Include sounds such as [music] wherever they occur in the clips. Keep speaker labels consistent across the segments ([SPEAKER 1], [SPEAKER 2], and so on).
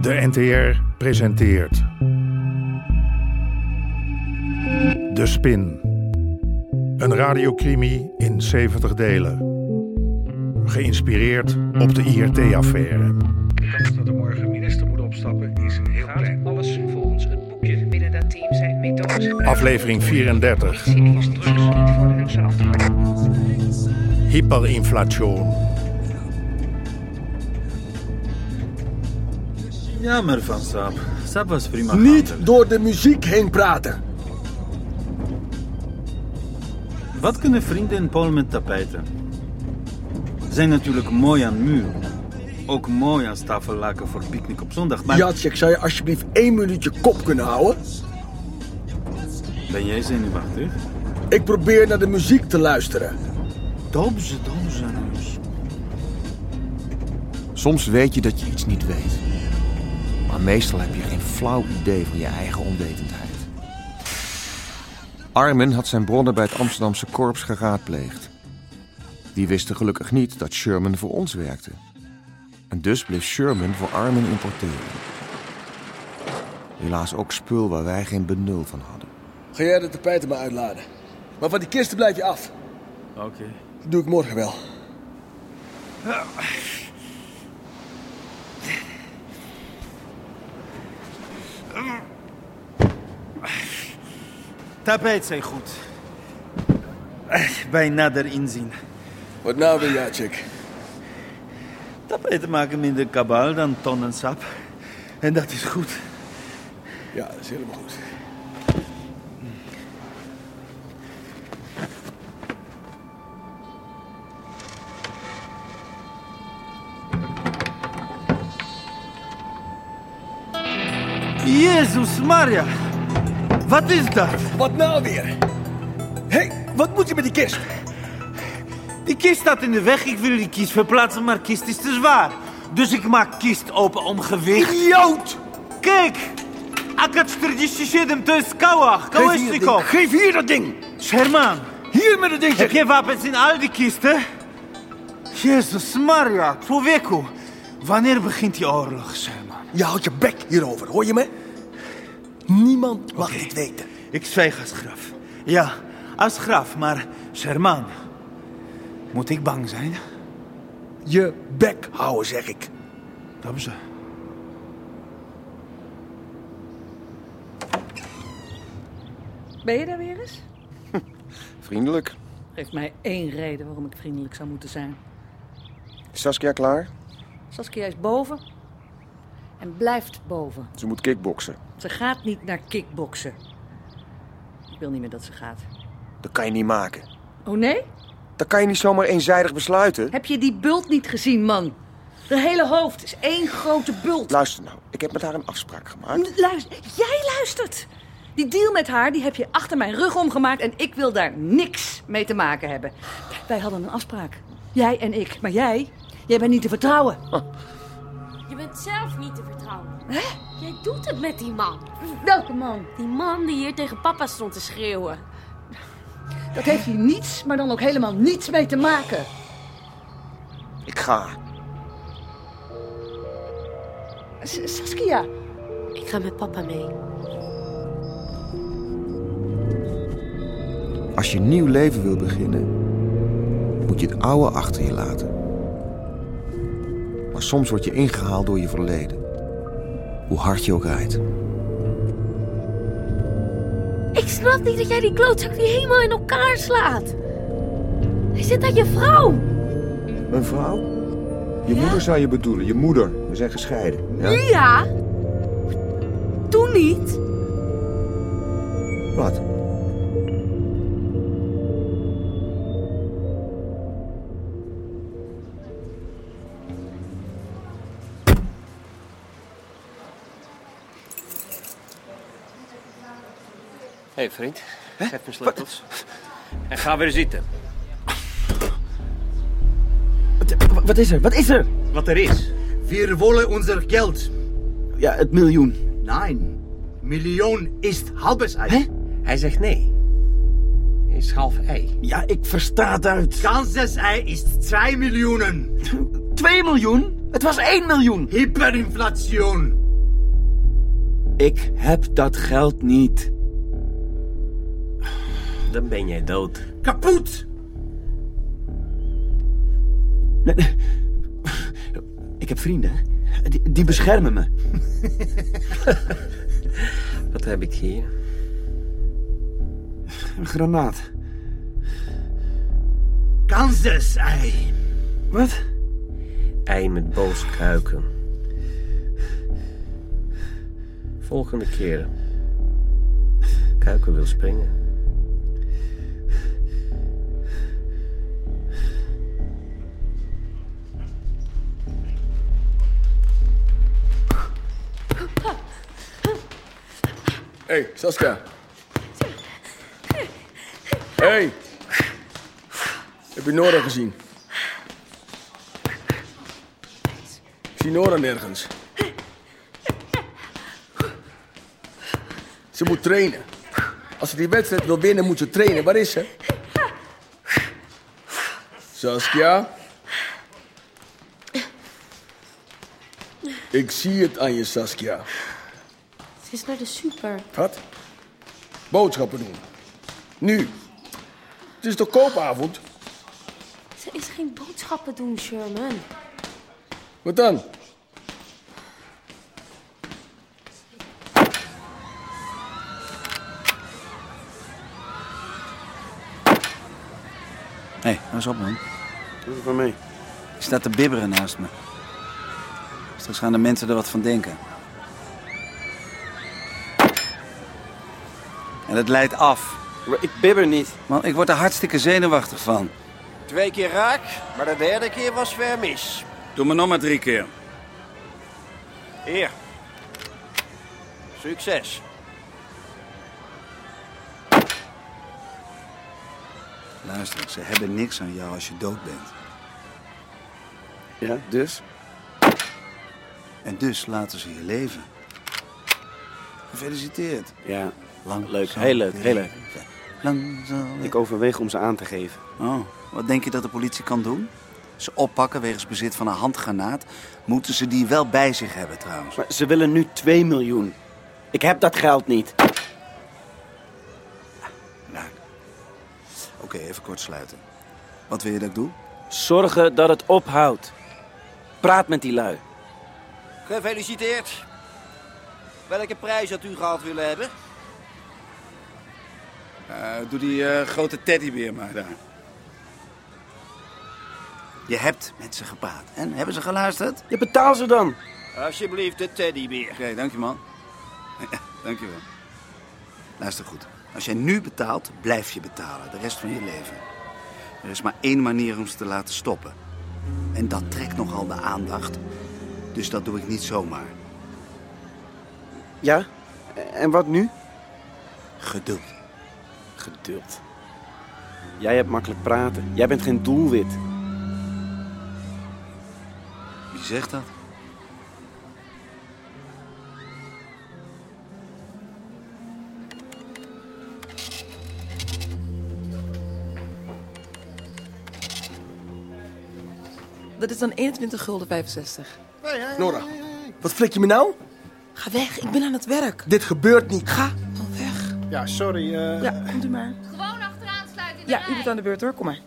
[SPEAKER 1] De NTR presenteert. De Spin. Een radiocrimi in 70 delen. Geïnspireerd op de IRT-affaire.
[SPEAKER 2] De kans dat er morgen minister moet opstappen is heel klein.
[SPEAKER 3] Alles volgens het boekje.
[SPEAKER 4] Binnen dat team zijn methodes.
[SPEAKER 1] Aflevering 34.
[SPEAKER 4] Politie die instructies niet voor hun verantwoord.
[SPEAKER 1] Hyperinflation.
[SPEAKER 5] Jammer van Sap. Sap was prima.
[SPEAKER 6] Niet
[SPEAKER 5] gaande.
[SPEAKER 6] door de muziek heen praten.
[SPEAKER 5] Wat kunnen vrienden in Polen met tapijten? Zijn natuurlijk mooi aan muur. Ook mooi aan tafellaken voor picknick op zondag. Maar
[SPEAKER 6] Jacek, zou je alsjeblieft één minuutje kop kunnen houden?
[SPEAKER 5] ben jij zenuwachtig?
[SPEAKER 6] Ik probeer naar de muziek te luisteren.
[SPEAKER 5] Dobrze, dobrze.
[SPEAKER 7] Soms weet je dat je iets niet weet. Maar meestal heb je geen flauw idee van je eigen onwetendheid. Armin had zijn bronnen bij het Amsterdamse korps geraadpleegd. Die wisten gelukkig niet dat Sherman voor ons werkte. En dus bleef Sherman voor Armin importeren. Helaas ook spul waar wij geen benul van hadden.
[SPEAKER 6] Ga jij de tapijten maar uitladen. Maar van die kisten blijf je af.
[SPEAKER 5] Oké.
[SPEAKER 6] Dat doe ik morgen wel.
[SPEAKER 5] Tapijt zijn goed. Echt, Bij nader inzien.
[SPEAKER 6] Wat nou weer, Jacek?
[SPEAKER 5] Tapijten maken minder kabaal dan tonnen sap. En dat is goed.
[SPEAKER 6] Ja, dat is helemaal goed.
[SPEAKER 5] Jezus Maria. Wat is dat?
[SPEAKER 6] Wat nou weer? Hé, hey, wat moet je met die kist?
[SPEAKER 5] Die kist staat in de weg. Ik wil die kist verplaatsen, maar kist is te zwaar. Dus ik maak kist open om gewicht.
[SPEAKER 6] Idioot!
[SPEAKER 5] Kijk! Akat 47 to jest kałach,
[SPEAKER 6] Geef hier, dat
[SPEAKER 5] kałaszczyko.
[SPEAKER 6] ding. Geef hier dat ding!
[SPEAKER 5] Sherman,
[SPEAKER 6] Hier met het ding!
[SPEAKER 5] heb
[SPEAKER 6] zeg.
[SPEAKER 5] jij wapens in al die kisten? Jezus Maria, człowieku. Wanneer begint die oorlog, Sherman?
[SPEAKER 6] Je houdt je bek hierover, hoor je me? Niemand mag dit weten.
[SPEAKER 5] Ik zwijg als graf. Ja, als graf, maar Sherman, moet ik bang zijn?
[SPEAKER 6] Je bek houden, zeg ik.
[SPEAKER 5] Dobrze.
[SPEAKER 4] Ben je daar weer eens?
[SPEAKER 7] [laughs] Vriendelijk.
[SPEAKER 4] Geeft mij één reden waarom ik vriendelijk zou moeten zijn.
[SPEAKER 7] Is Saskia klaar?
[SPEAKER 4] Saskia is boven. En blijft boven.
[SPEAKER 7] Ze moet kickboksen.
[SPEAKER 4] Ze gaat niet naar kickboksen. Ik wil niet meer dat ze gaat.
[SPEAKER 7] Dat kan je niet maken.
[SPEAKER 4] Oh nee?
[SPEAKER 7] Dat kan je niet zomaar eenzijdig besluiten.
[SPEAKER 4] Heb je die bult niet gezien, man? De hele hoofd is één grote bult.
[SPEAKER 7] Luister nou, ik heb met haar een afspraak gemaakt.
[SPEAKER 4] Luister, jij luistert. Die deal met haar die heb je achter mijn rug omgemaakt en ik wil daar niks mee te maken hebben. Wij hadden een afspraak. Jij en ik. Maar jij, jij bent niet te vertrouwen.
[SPEAKER 8] Je bent zelf niet te vertrouwen. Jij doet het met die man.
[SPEAKER 4] Welke man?
[SPEAKER 8] Die man die hier tegen papa stond te schreeuwen.
[SPEAKER 4] Dat heeft hier niets, maar dan ook helemaal niets mee te maken.
[SPEAKER 7] Ik ga.
[SPEAKER 4] S- Saskia,
[SPEAKER 8] Ik ga met papa mee.
[SPEAKER 7] Als je een nieuw leven wil beginnen, moet je het oude achter je laten. Maar soms word je ingehaald door je verleden. Hoe hard je ook rijdt.
[SPEAKER 8] Ik snap niet dat jij die klootzak niet helemaal in elkaar slaat. Hij zit aan je vrouw.
[SPEAKER 7] Een vrouw? Je moeder zou je bedoelen, je moeder. We zijn gescheiden. Ja?
[SPEAKER 8] Ja. Doe niet.
[SPEAKER 7] Wat?
[SPEAKER 9] Hé hey vriend, geef me sleutels. En ga weer zitten.
[SPEAKER 5] Wat, is er? Wat is er?
[SPEAKER 9] Wat er is.
[SPEAKER 10] Wir wollen unser Geld.
[SPEAKER 5] Ja, het miljoen.
[SPEAKER 10] Nein, Million ist halbes Ei.
[SPEAKER 9] Hij zegt nee. Is half ei.
[SPEAKER 5] Ja, ik versta Duits.
[SPEAKER 10] Ganzes Ei ist 2 Millionen.
[SPEAKER 5] 2 miljoen? Het was 1 miljoen.
[SPEAKER 10] Hyperinflation.
[SPEAKER 11] Ik heb dat geld niet.
[SPEAKER 12] Dan ben jij dood.
[SPEAKER 13] Kaput!
[SPEAKER 12] Nee, nee. Ik heb vrienden. Die, die beschermen me.
[SPEAKER 11] [laughs] Wat heb ik hier?
[SPEAKER 12] Een granaat.
[SPEAKER 13] Kansesei.
[SPEAKER 12] Wat?
[SPEAKER 11] Ei met booskuiken. Volgende keer. Kuiken wil springen.
[SPEAKER 6] Hé, hey, Saskia. Hé. Hey. Heb je Nora gezien? Ik zie Nora nergens. Ze moet trainen. Als ze die wedstrijd wil winnen, moet ze trainen. Waar is ze? Saskia? Ik zie het aan je, Saskia.
[SPEAKER 14] Ze is naar de super.
[SPEAKER 6] Wat? Boodschappen doen. Nu. Het is toch koopavond?
[SPEAKER 14] Ze is geen boodschappen doen, Sherman.
[SPEAKER 6] Wat dan?
[SPEAKER 5] Hé, hey, nou eens op, man.
[SPEAKER 6] Doe het van mee.
[SPEAKER 5] Je staat te bibberen naast me. Straks gaan de mensen er wat van denken. En het leidt af.
[SPEAKER 12] Ik bibber niet.
[SPEAKER 5] Man, ik word er hartstikke zenuwachtig van.
[SPEAKER 12] Twee keer raak, maar de derde keer was ver mis.
[SPEAKER 5] Doe me nog maar drie keer.
[SPEAKER 12] Hier. Succes.
[SPEAKER 5] Luister, ze hebben niks aan jou als je dood bent.
[SPEAKER 6] Ja, dus?
[SPEAKER 5] En dus laten ze je leven. Gefeliciteerd.
[SPEAKER 12] Ja, Lang, leuk, heel leuk, heel leuk.
[SPEAKER 5] Lang
[SPEAKER 12] Ik overweeg om ze aan te geven.
[SPEAKER 5] Oh, wat denk je dat de politie kan doen? Ze oppakken wegens bezit van een handgranaat. Moeten ze die wel bij zich hebben trouwens.
[SPEAKER 12] Maar ze willen nu 2 miljoen. Ik heb dat geld niet.
[SPEAKER 5] Nou. Oké, okay, even kort sluiten. Wat wil je dat ik doe?
[SPEAKER 12] Zorgen dat het ophoudt. Praat met die lui. Gefeliciteerd. Welke prijs had u gehad willen hebben?
[SPEAKER 5] Uh, doe die uh, grote teddybeer maar daar. Je hebt met ze gepraat. En hebben ze geluisterd?
[SPEAKER 12] Je betaalt ze dan. Alsjeblieft, de teddybeer. Oké,
[SPEAKER 5] okay, dank je man. [laughs] dank je wel. Luister goed. Als jij nu betaalt, blijf je betalen. De rest van je leven. Er is maar één manier om ze te laten stoppen. En dat trekt nogal de aandacht. Dus dat doe ik niet zomaar.
[SPEAKER 12] Ja? En wat nu?
[SPEAKER 5] Geduld.
[SPEAKER 12] Geduld. Jij hebt makkelijk praten. Jij bent geen doelwit.
[SPEAKER 5] Wie zegt dat?
[SPEAKER 3] Dat is dan 21 gulden 65.
[SPEAKER 6] Nora, wat flik je me nou?
[SPEAKER 3] Ga weg, ik ben aan het werk.
[SPEAKER 6] Dit gebeurt niet.
[SPEAKER 3] Ga dan weg.
[SPEAKER 7] Ja, sorry. Uh...
[SPEAKER 3] Ja, komt u maar.
[SPEAKER 8] Gewoon achteraan sluiten.
[SPEAKER 3] Ja, u bent aan de beurt hoor, kom maar.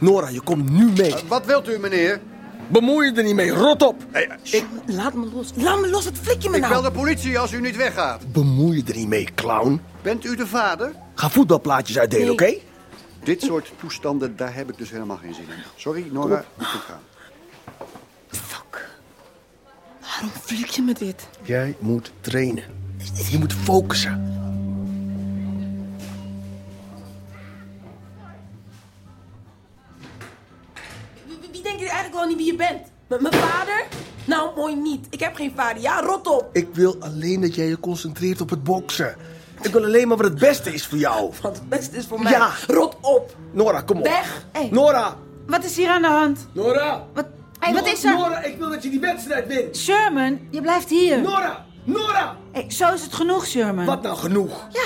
[SPEAKER 6] Nora, je komt nu mee. Uh,
[SPEAKER 7] wat wilt u, meneer?
[SPEAKER 6] Bemoei je er niet mee, rot op!
[SPEAKER 3] Hey, ik... Laat me los, laat me los, wat flik je me
[SPEAKER 7] ik
[SPEAKER 3] nou?
[SPEAKER 7] Ik bel de politie als u niet weggaat.
[SPEAKER 6] Bemoei je er niet mee, clown.
[SPEAKER 7] Bent u de vader?
[SPEAKER 6] Ga voetbalplaatjes uitdelen, nee. oké? Okay?
[SPEAKER 7] Dit soort toestanden, daar heb ik dus helemaal geen zin in. Sorry, Nora, moet ik gaan.
[SPEAKER 3] Fuck. Waarom flik je me dit?
[SPEAKER 6] Jij moet trainen. Je moet focussen.
[SPEAKER 3] wel niet wie je bent. M mijn vader? Nou, mooi niet. Ik heb geen vader. Ja, rot op.
[SPEAKER 6] Ik wil alleen dat jij je concentreert op het boksen. Ik wil alleen maar wat het beste is voor jou.
[SPEAKER 3] Wat het beste is voor mij?
[SPEAKER 6] Ja.
[SPEAKER 3] Rot op.
[SPEAKER 6] Nora, kom op.
[SPEAKER 3] Weg. Hey.
[SPEAKER 6] Nora.
[SPEAKER 4] Wat is hier aan de hand?
[SPEAKER 6] Nora.
[SPEAKER 4] Wat, hey,
[SPEAKER 6] Nora,
[SPEAKER 4] wat is er?
[SPEAKER 6] Nora, ik wil dat je die wedstrijd wint.
[SPEAKER 4] Sherman, je blijft hier.
[SPEAKER 6] Nora. Nora.
[SPEAKER 4] Hey, zo is het genoeg, Sherman.
[SPEAKER 6] Wat nou genoeg?
[SPEAKER 4] Ja.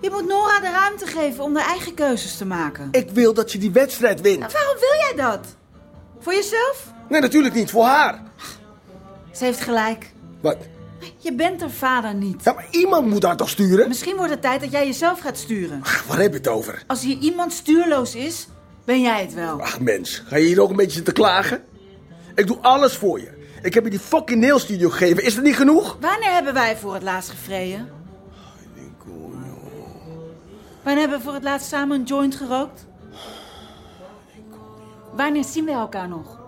[SPEAKER 4] Je moet Nora de ruimte geven om haar eigen keuzes te maken.
[SPEAKER 6] Ik wil dat je die wedstrijd wint. Nou,
[SPEAKER 4] waarom wil jij dat? Voor jezelf?
[SPEAKER 6] Nee, natuurlijk niet. Voor haar.
[SPEAKER 4] Ze heeft gelijk.
[SPEAKER 6] Wat?
[SPEAKER 4] Je bent haar vader niet.
[SPEAKER 15] Ja, maar iemand moet haar toch sturen?
[SPEAKER 4] Misschien wordt het tijd dat jij jezelf gaat sturen.
[SPEAKER 15] Waar heb je het over?
[SPEAKER 4] Als hier iemand stuurloos is, ben jij het wel.
[SPEAKER 15] Ach mens, ga je hier ook een beetje te klagen? Ik doe alles voor je. Ik heb je die fucking nailstudio gegeven. Is dat niet genoeg?
[SPEAKER 4] Wanneer hebben wij voor het laatst gevreden? Wanneer hebben we voor het laatst samen een joint gerookt? Wanneer zien we elkaar nog?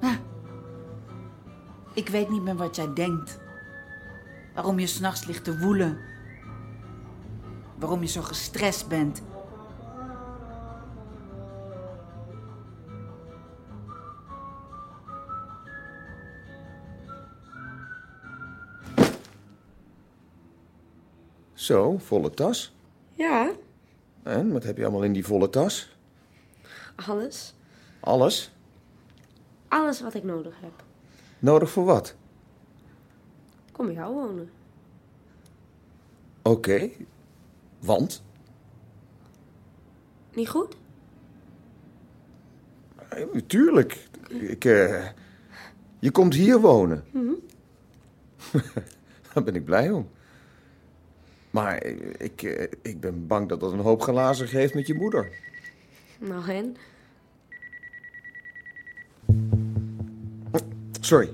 [SPEAKER 4] Ah. Ik weet niet meer wat jij denkt. Waarom je s'nachts ligt te woelen. Waarom je zo gestrest bent.
[SPEAKER 7] Zo, volle tas.
[SPEAKER 16] Ja,
[SPEAKER 7] En wat heb je allemaal in die volle tas?
[SPEAKER 16] alles.
[SPEAKER 7] Alles.
[SPEAKER 16] Alles wat ik nodig heb.
[SPEAKER 7] Nodig voor wat?
[SPEAKER 16] Kom bij jou wonen.
[SPEAKER 7] Oké. Want?
[SPEAKER 16] Niet goed?
[SPEAKER 7] Eh, Tuurlijk. Ik, eh, je komt hier wonen.
[SPEAKER 16] Hm?
[SPEAKER 7] [laughs] Daar ben ik blij om. Maar eh, ik, eh, ik ben bang dat dat een hoop glazen geeft met je moeder.
[SPEAKER 16] Nou en?
[SPEAKER 7] Sorry.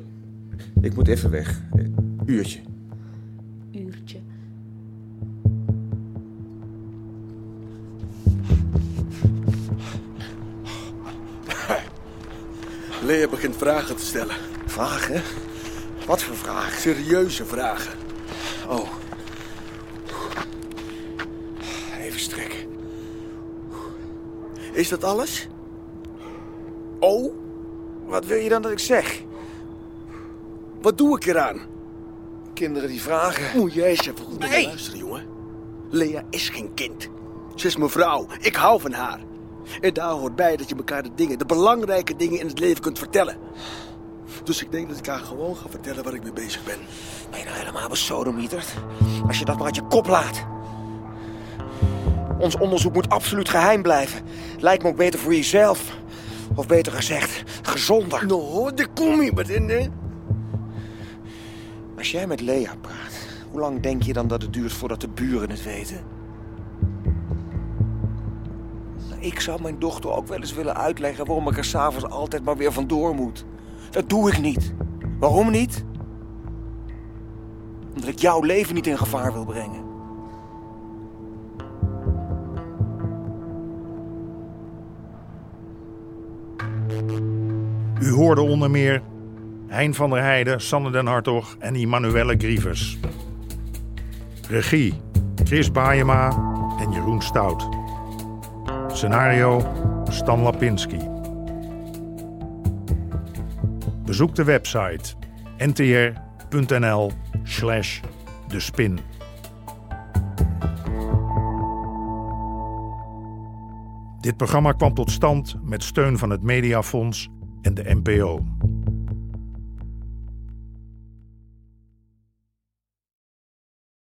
[SPEAKER 7] Ik moet even weg. Eh, Uurtje.
[SPEAKER 16] Uurtje.
[SPEAKER 15] Lea begint vragen te stellen. Vragen? Wat voor vragen? Serieuze vragen. Oh. Even strekken.
[SPEAKER 6] Is dat alles? Oh, wat wil je dan dat ik zeg? Wat doe ik eraan? Kinderen die vragen. Moet jij eens even goed naar me luisteren, jongen. Lea is geen kind. Ze is mijn vrouw. Ik hou van haar. En daar hoort bij dat je elkaar de dingen, de belangrijke dingen in het leven kunt vertellen. Dus ik denk dat ik haar gewoon ga vertellen waar ik mee bezig ben. Ben je nou helemaal besodemieterd?
[SPEAKER 17] Als je dat maar uit je kop laat. Ons onderzoek moet absoluut geheim blijven. Lijkt me ook beter voor jezelf. Of beter gezegd, gezonder.
[SPEAKER 6] Nou, de kom je in, hè?
[SPEAKER 17] Als jij met Lea praat, hoe lang denk je dan dat het duurt voordat de buren het weten? Nou, Ik zou mijn dochter ook wel eens willen uitleggen waarom ik er s'avonds altijd maar weer vandoor moet. Dat doe ik niet. Waarom niet? Omdat ik jouw leven niet in gevaar wil brengen.
[SPEAKER 1] U hoorde onder meer Hein van der Heijden, Sanne den Hartog en Immanuelle Grieves. Regie Chris Baayema en Jeroen Stout. Scenario Stan Lapinski. Bezoek de website ntr.nl slash de spin. Dit programma kwam tot stand met steun van het Mediafonds en de NPO.